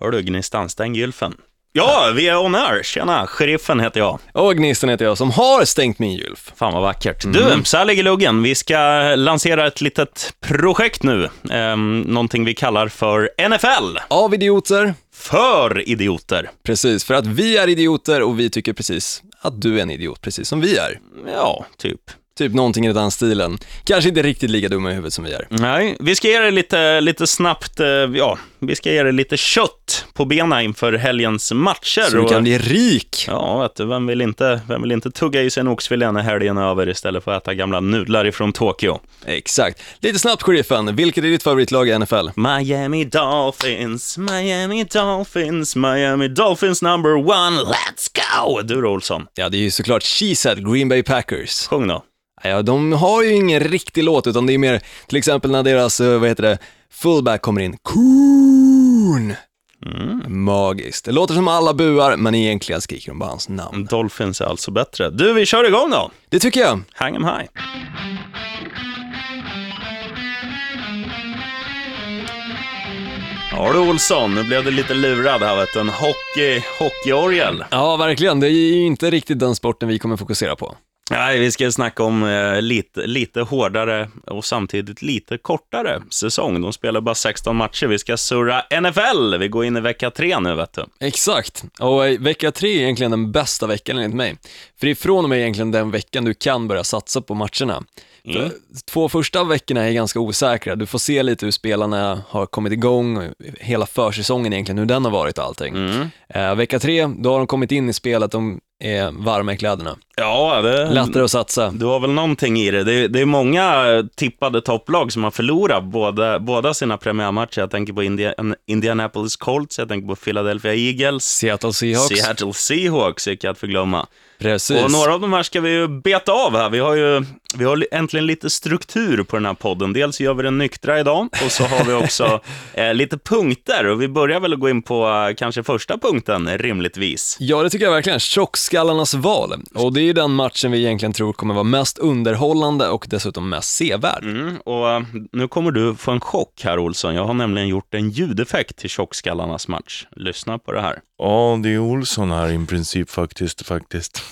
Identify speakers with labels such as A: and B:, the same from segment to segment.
A: Hör du Gnistan, stäng gylfen. Ja, vi är on air. Tjena, sheriffen heter jag.
B: Och Gnisten heter jag som har stängt min gylf.
A: Fan vad vackert. Du,
B: Mm.
A: så här ligger luggen. Vi ska lansera ett litet projekt nu. Ehm, någonting vi kallar för NFL.
B: Av idioter.
A: För idioter.
B: Precis, för att vi är idioter och vi tycker precis att du är en idiot, precis som vi är.
A: Ja, typ.
B: Typ någonting i den stilen. Kanske inte riktigt lika dumma i huvudet som vi är.
A: Nej, vi ska ge er lite, lite snabbt, eh, ja, vi ska ge er lite kött på benen inför helgens matcher.
B: Så du
A: och-
B: kan bli rik.
A: Ja, vet du, vem vill inte, vem vill inte tugga i sig en oxfilé när helgen är över istället för att äta gamla nudlar ifrån Tokyo?
B: Exakt. Lite snabbt, sheriffen. Vilket är ditt favoritlag i NFL?
A: Miami Dolphins, Miami Dolphins, Miami Dolphins number one, let's go! Du då, Olsson,
B: Ja, det är ju såklart Cheesehead Green Bay Packers.
A: sjung då.
B: Ja, de har ju ingen riktig låt, utan det är mer till exempel när deras, eh, vad heter det, fullback kommer in. Coon! Mm. Magiskt. Det låter som alla buar, men egentligen skriker de bara hans namn.
A: Dolphins är alltså bättre. Du, vi kör igång då!
B: Det tycker jag.
A: Hang 'em high. Ja du Olsson, nu blev du lite lurad här vet du. En hockey, hockeyorgel.
B: Ja, verkligen. Det är ju inte riktigt den sporten vi kommer fokusera på.
A: Nej, vi ska snacka om eh, lite, lite hårdare och samtidigt lite kortare säsong. De spelar bara 16 matcher. Vi ska surra NFL. Vi går in i vecka tre nu vet du.
B: Exakt. Och eh, vecka tre är egentligen den bästa veckan enligt mig. För det är från och med egentligen den veckan du kan börja satsa på matcherna.
A: Mm.
B: För Två första veckorna är ganska osäkra. Du får se lite hur spelarna har kommit igång, och hela försäsongen egentligen, hur den har varit och allting.
A: Mm.
B: Eh, vecka tre, då har de kommit in i spelet, de är varma i kläderna.
A: Ja, det...
B: Lättare att satsa.
A: Du har väl någonting i det. Det är, det är många eh, tippade topplag som har förlorat båda, båda sina premiärmatcher. Jag tänker på Indian, Indianapolis Colts, jag tänker på Philadelphia Eagles,
B: Seattle Seahawks.
A: Seattle Seahawks, icke att förglömma.
B: Precis.
A: Och några av de här ska vi ju beta av här. Vi har ju vi har li- äntligen lite struktur på den här podden. Dels gör vi den nyktra idag och så har vi också eh, lite punkter. Och vi börjar väl att gå in på eh, kanske första punkten rimligtvis.
B: Ja, det tycker jag verkligen. Tjockskallarnas val. Och det är ju den matchen vi egentligen tror kommer vara mest underhållande och dessutom mest sevärd.
A: Mm, och eh, nu kommer du få en chock här Olsson. Jag har nämligen gjort en ljudeffekt till Tjockskallarnas match. Lyssna på det här.
C: Ja, det är Olsson här i princip faktiskt, faktiskt.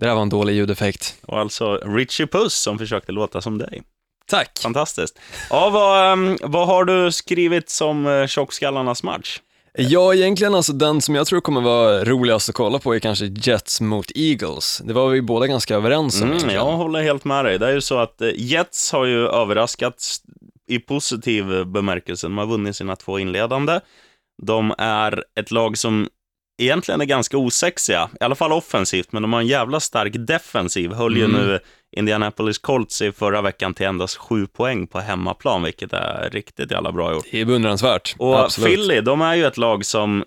B: Det där var en dålig ljudeffekt.
A: Och alltså Richie Puss som försökte låta som dig.
B: Tack.
A: Fantastiskt. Ja, vad, eh, vad har du skrivit som eh, Tjockskallarnas match?
B: Ja, egentligen alltså den som jag tror kommer vara roligast att kolla på är kanske Jets mot Eagles. Det var vi båda ganska överens om.
A: Mm,
B: egentligen.
A: jag håller helt med dig. Det är ju så att eh, Jets har ju överraskat i positiv eh, bemärkelse. De har vunnit sina två inledande. De är ett lag som egentligen är ganska osexiga, i alla fall offensivt, men de har en jävla stark defensiv. Höll ju
B: Mm.
A: nu Indianapolis Colts i förra veckan till endast sju poäng på hemmaplan, vilket är riktigt jävla bra gjort.
B: Det är beundransvärt.
A: Och
B: Absolut.
A: Philly, de är ju ett lag som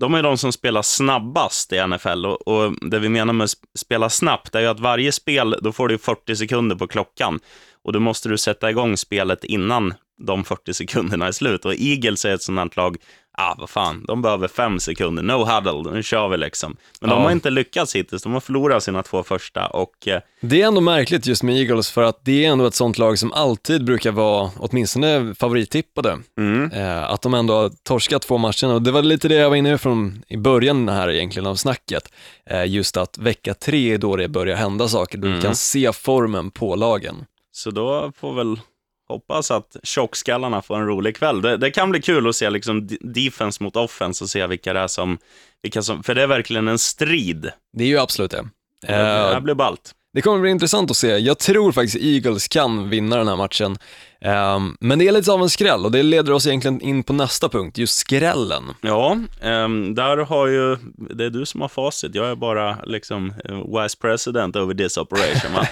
A: de är de som spelar snabbast i NFL och, och det vi menar med sp- spela snabbt är ju att varje spel, då får du 40 sekunder på klockan och då måste du sätta igång spelet innan de 40 sekunderna är slut. Och Eagles är ett sådant lag, ah vad fan, de behöver fem sekunder, no huddle, nu kör vi liksom. Men de
B: Ja.
A: har inte lyckats hittills, de har förlorat sina två första och eh,
B: Det är ändå märkligt just med Eagles för att det är ändå ett sånt lag som alltid brukar vara åtminstone favorittippade.
A: Mm.
B: Eh, att de ändå har torskat två matcherna och det var lite det jag var inne från i början här egentligen av snacket. Eh, just att vecka tre är då det börjar hända saker, du
A: Mm.
B: kan se formen på lagen.
A: Så då får väl hoppas att tjockskallarna får en rolig kväll. Det, det kan bli kul att se liksom d- defense mot offense och se vilka det är som, vilka som... För det är verkligen en strid.
B: Det är ju absolut det.
A: Det här
B: Eh,
A: blir ballt.
B: det kommer bli intressant att se. Jag tror faktiskt Eagles kan vinna den här matchen. Eh, men det är lite av en skräll och det leder oss egentligen in på nästa punkt, just skrällen.
A: Ja, ehm, där har ju... Det är du som har facit. Jag är bara liksom eh, vice president over this operation, va?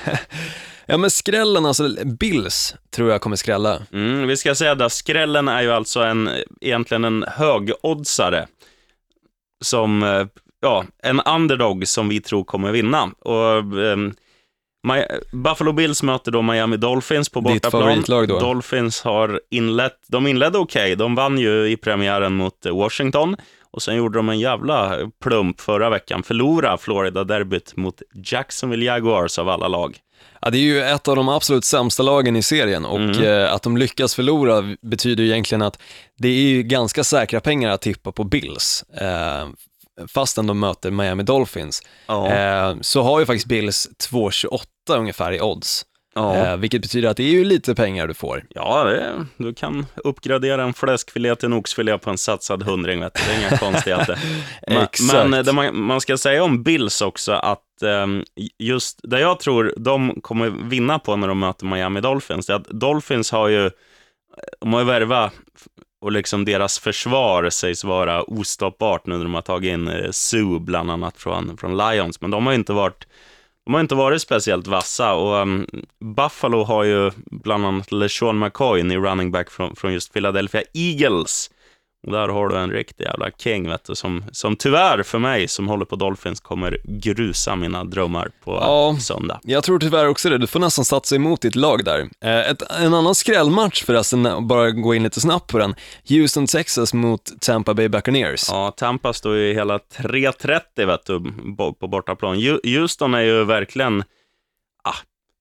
B: Ja men skrällen, alltså Bills tror jag kommer skrälla.
A: Mm, vi ska säga att skrällen är ju alltså en, egentligen en högoddsare. Som, eh, ja, en underdog som vi tror kommer vinna. Och, ehm, Mi- Buffalo Bills möter då Miami Dolphins på
B: Ditt
A: bortaplan.
B: favoritlag då.
A: Dolphins har inlett, de inledde okej, de vann ju i premiären mot eh, Washington. Och sen gjorde de en jävla plump förra veckan, förlora Florida-derbyt mot Jacksonville Jaguars av alla lag.
B: Ja, det är ju ett av de absolut sämsta lagen i serien och
A: Mm.
B: eh, att de lyckas förlora betyder ju egentligen att det är ju ganska säkra pengar att tippa på Bills, eh, fastän de möter Miami Dolphins.
A: Ja.
B: Eh, så har ju faktiskt Bills 2,28 ungefär i odds,
A: ja.
B: eh, vilket betyder att det är ju lite pengar du får.
A: ja det, du kan uppgradera en fläskfilé till en oxfilé på en satsad hundring. Vet du. Det är inga konstigheter. Men-
B: Exakt.
A: Men eh, det man, man ska säga om Bills också, att ehm, just det jag tror de kommer vinna på när de möter Miami Dolphins, det är att Dolphins har ju, eh, de har ju värva och liksom deras försvar sägs vara ostoppbart nu när de har tagit in eh, Sue bland annat från, från Lions, men de har ju inte varit de har inte varit speciellt vassa och ehm, Buffalo har ju bland annat LeSean McCoy, ny running back från, från just Philadelphia Eagles. Och där har du en riktig jävla king, vet du, som, som tyvärr för mig som håller på Dolphins kommer grusa mina drömmar på
B: Ja.
A: söndag.
B: Jag tror tyvärr också det, du får nästan satsa emot ditt lag där. Eh, Ett, en annan skrällmatch förresten, eh, bara gå in lite snabbt på den, Houston Texas mot Tampa Bay Buccaneers.
A: Ja, Tampa står ju i hela 3.30 vet du, bo- på bortaplan. Ju- Houston är ju verkligen, ah,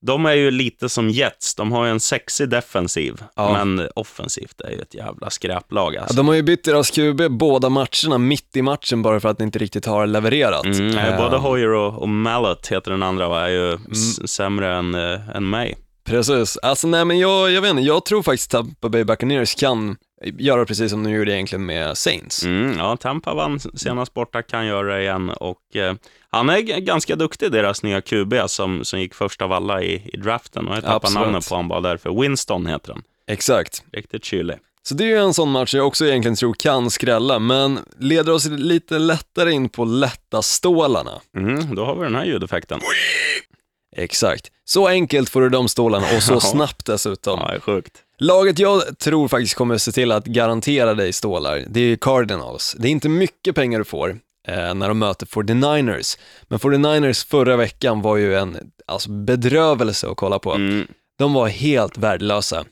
A: de är ju lite som Jets, de har ju en sexig defensiv,
B: Ja.
A: men offensivt är ju ett jävla skräplag
B: Ja,
A: alltså.
B: de har ju bytt deras QB båda matcherna mitt i matchen bara för att de inte riktigt har levererat.
A: Mm, nej,
B: Eh,
A: både Hoyer och, och Mallet heter den andra, va? är ju
B: Mm.
A: s- sämre än, eh, än mig.
B: Precis. Alltså nej men jag, jag vet inte, jag tror faktiskt Tampa Bay Buccaneers kan göra precis som de gjorde egentligen med Saints.
A: Mm, ja, Tampa vann senast
B: Mm.
A: borta, kan göra det igen. Och, eh, han är g- ganska duktig, deras nya QB, som, som gick först av alla i, i draften. Och jag tappade
B: Absolut.
A: namnet på honom bara därför. Winston heter han.
B: Exakt.
A: Riktigt kylig.
B: Så det är ju en sån match jag också egentligen tror kan skrälla, men leder oss lite lättare in på lätta stålarna.
A: Mm, då har vi den här ljudeffekten.
B: Exakt. Så enkelt får du de stålarna och så
A: Ja.
B: snabbt dessutom.
A: Ja, det är sjukt.
B: Laget jag tror faktiskt kommer se till att garantera dig stålar, det är Cardinals. Det är inte mycket pengar du får eh, när de möter 49ers, men 49ers förra veckan var ju en alltså, bedrövelse att kolla på.
A: Mm,
B: De var helt värdelösa.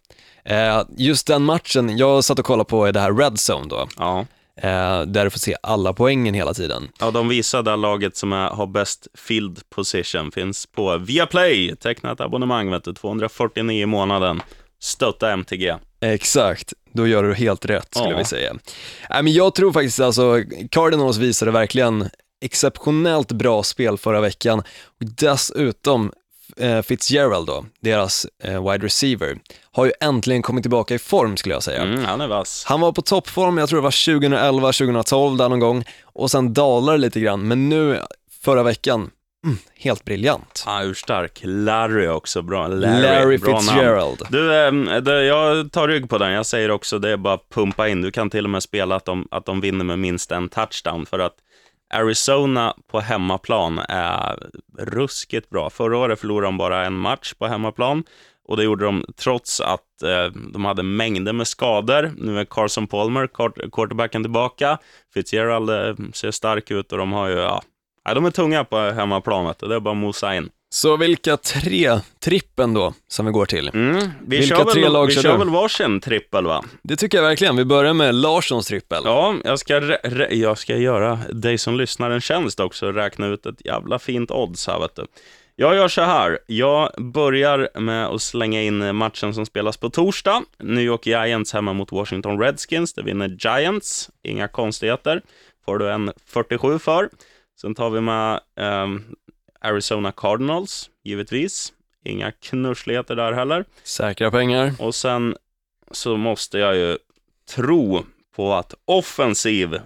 B: Eh, just den matchen, jag satt och kollade på i det här Red Zone då,
A: ja.
B: eh, där du får se alla poängen hela tiden.
A: ja, de visar där laget som är, har bäst field position finns på Viaplay. Teckna ett abonnemang, vet du. 249 i månaden. Stötta MTG.
B: Exakt, då gör du helt rätt skulle
A: Ja.
B: vi säga. Nej, men jag tror faktiskt alltså, Cardinals visade verkligen exceptionellt bra spel förra veckan och dessutom eh, Fitzgerald då, deras eh, wide receiver, har ju äntligen kommit tillbaka i form skulle jag säga.
A: Mm, han är vass.
B: Han var på toppform, jag tror det var 2011, 2012 där någon gång och sen dalade det lite grann, men nu förra veckan, mm, helt briljant.
A: Han är urstark. Larry också. Bra. Larry,
B: Larry,
A: bra namn.
B: Fitzgerald.
A: Du, ehm, det, jag tar rygg på den. Jag säger också, det är bara att pumpa in. Du kan till och med spela att de, att de vinner med minst en touchdown, för att Arizona på hemmaplan är ruskigt bra. Förra året förlorade de bara en match på hemmaplan, och det gjorde de trots att eh, de hade mängder med skador. Nu är Carson Palmer, quart- quarterbacken, tillbaka. Fitzgerald eh, ser stark ut och de har ju, ja, ja, de är tunga på hemmaplan, vet du. det är bara att mosa in.
B: Så vilka tre trippen då som vi går till?
A: Mm. Vi
B: Vilka
A: kör väl,
B: tre lag
A: vi
B: kör
A: kör
B: du?
A: väl varsin trippel, va?
B: Det tycker jag verkligen. Vi börjar med Larssons trippel.
A: Ja, jag ska, rä- rä- jag ska göra dig som lyssnar en tjänst också och räkna ut ett jävla fint odds här, vet du. Jag gör så här. Jag börjar med att slänga in matchen som spelas på torsdag. New York Giants hemma mot Washington Redskins. Det vinner Giants. Inga konstigheter. Får du en 47 för. Sen tar vi med ehm, Arizona Cardinals, givetvis. Inga knursligheter där heller.
B: Säkra pengar.
A: Och sen så måste jag ju tro på att offensiv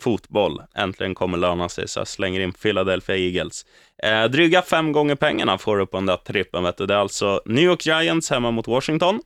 A: fotboll äntligen kommer löna sig, så jag slänger in Philadelphia Eagles. Eh, dryga fem gånger pengarna får du på den där trippen, vet du. Det är alltså New York Giants hemma mot Washington.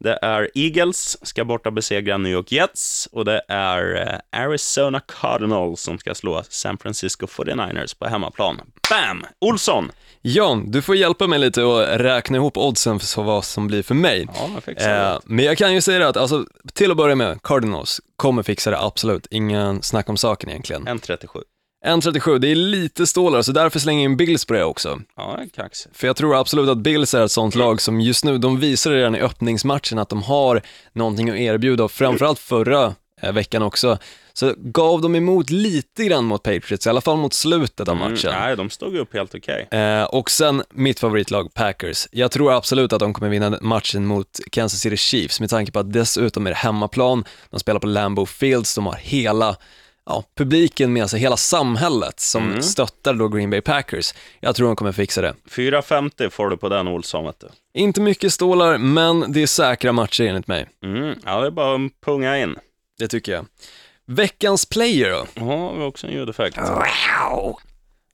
A: Det är Eagles, ska borta besegra New York Jets. Och det är eh, Arizona Cardinals som ska slå San Francisco 49ers på hemmaplan. Bam! Olsson!
B: Jan, du får hjälpa mig lite och räkna ihop oddsen för vad som blir för mig.
A: Ja, jag fick
B: Eh, men jag kan ju säga det att, alltså, till att börja med, Cardinals kommer fixa det, absolut. Ingen snack om saken egentligen.
A: 1.37.
B: 1.37, det är lite stålar, så därför slänger jag in Bills på det också.
A: Ja, kaxigt.
B: För jag tror absolut att Bills är ett sånt lag som just nu, de visar redan i öppningsmatchen att de har någonting att erbjuda och framförallt förra eh, veckan också, så gav de emot lite grann mot Patriots, i alla fall mot slutet av matchen.
A: Mm, nej, de stod upp helt okej.
B: Eh, och sen mitt favoritlag Packers. Jag tror absolut att de kommer vinna matchen mot Kansas City Chiefs med tanke på att dessutom är det hemmaplan, de spelar på Lambeau Fields, de har hela ja, publiken med sig, hela samhället som
A: Mm.
B: stöttar då Green Bay Packers. Jag tror de kommer fixa det.
A: 4.50 får du på den Olsson, vet du.
B: Inte mycket stålar, men det är säkra matcher enligt mig.
A: Mm, ja, det är bara att punga in.
B: Det tycker jag. Veckans player då?
A: Ja, vi har också en ljudeffekt.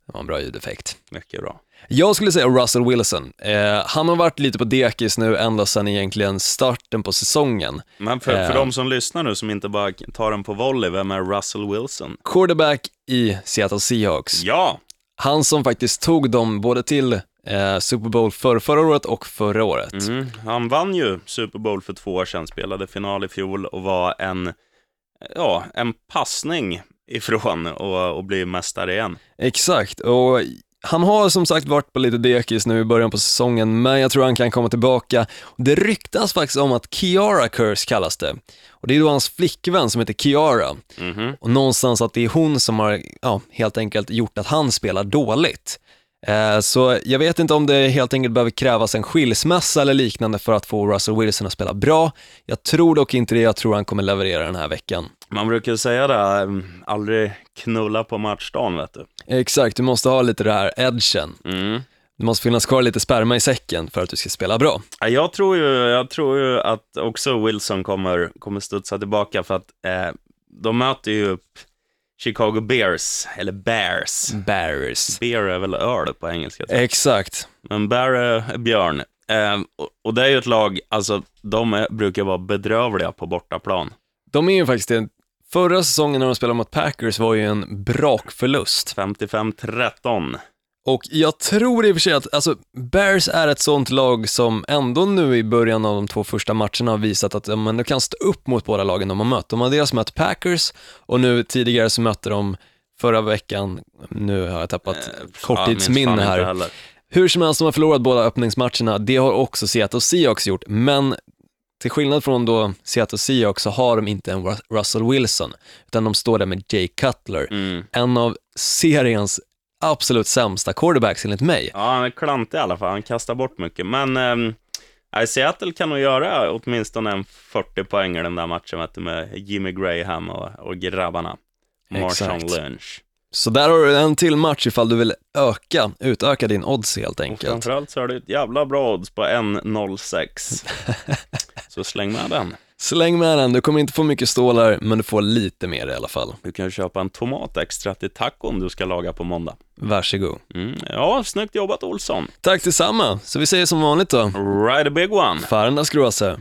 B: Det var en bra ljudeffekt.
A: Mycket bra.
B: Jag skulle säga Russell Wilson. Eh, han har varit lite på dekis nu ända sedan egentligen starten på säsongen.
A: Men för, för de som lyssnar nu, som inte bara tar den på volley, vem är Russell Wilson?
B: Quarterback i Seattle Seahawks.
A: Ja,
B: Han som faktiskt tog dem både till eh, Super Bowl för förra året och förra året.
A: mm, han vann ju Super Bowl för två år sedan, spelade final i fjol och var en, ja, en passning ifrån och, och bli mästare igen.
B: Exakt, och han har som sagt varit på lite dekis nu i början på säsongen, men jag tror han kan komma tillbaka. Det ryktas faktiskt om att Kiara Curse kallas det. Och det är då hans flickvän som heter Kiara. Och någonstans att det är hon som har, ja, helt enkelt gjort att han spelar dåligt. Eh, så jag vet inte om det helt enkelt behöver krävas en skilsmässa eller liknande för att få Russell Wilson att spela bra. Jag tror dock inte det, jag tror han kommer leverera den här veckan.
A: Man brukar säga det, här, mm, aldrig knulla på matchdagen, vet du.
B: Exakt, du måste ha lite det här edgen.
A: Mm.
B: Det måste finnas kvar lite sperma i säcken för att du ska spela bra.
A: Ja, Jag tror ju, jag tror ju att också Wilson kommer, kommer studsa tillbaka för att eh, de möter ju upp Chicago Bears, eller Bears.
B: Bears.
A: Bear är väl öl på engelska, tror jag.
B: Exakt.
A: men Bear är björn. Eh, och, och det är ju ett lag, alltså de är, brukar vara bedrövliga på bortaplan.
B: De är ju faktiskt det. Förra säsongen när de spelade mot Packers var ju en brakförlust.
A: 55-13.
B: Och jag tror i och för sig att, alltså, Bears är ett sånt lag som ändå nu i början av de två första matcherna har visat att ja, men de kan stå upp mot båda lagen de har mött. De har dels mött Packers och nu tidigare så mötte de förra veckan, nu har jag tappat
A: Ja,
B: korttidsminne
A: Eh, minns fan
B: här.
A: inte heller.
B: Hur som helst, de har förlorat båda öppningsmatcherna. Det har också Seattle Seahawks gjort, men till skillnad från då Seattle Seahawks så har de inte en Rus- Russell Wilson, utan de står där med Jay Cutler,
A: Mm.
B: en av seriens absolut sämsta quarterbacks enligt mig.
A: Ja, han är klantig i alla fall. Han kastar bort mycket. Men ehm, nej, Seattle kan nog göra åtminstone en 40 poäng i den där matchen vet du, med Jimmy Graham och, och grabbarna. Marshawn
B: Exakt.
A: Lynch.
B: Så där har du en till match ifall du vill öka, utöka din odds helt
A: Och
B: enkelt.
A: framförallt så har du ett jävla bra odds på 1.06. så släng med den.
B: Släng med den, du kommer inte få mycket stålar, men du får lite mer i alla fall.
A: Du kan ju köpa en tomat extra till tacon du ska laga på måndag.
B: Varsågod.
A: Mm. Ja, snyggt jobbat Olsson.
B: Tack detsamma, så vi säger som vanligt då,
A: Ride a big one.
B: Farnas gråse.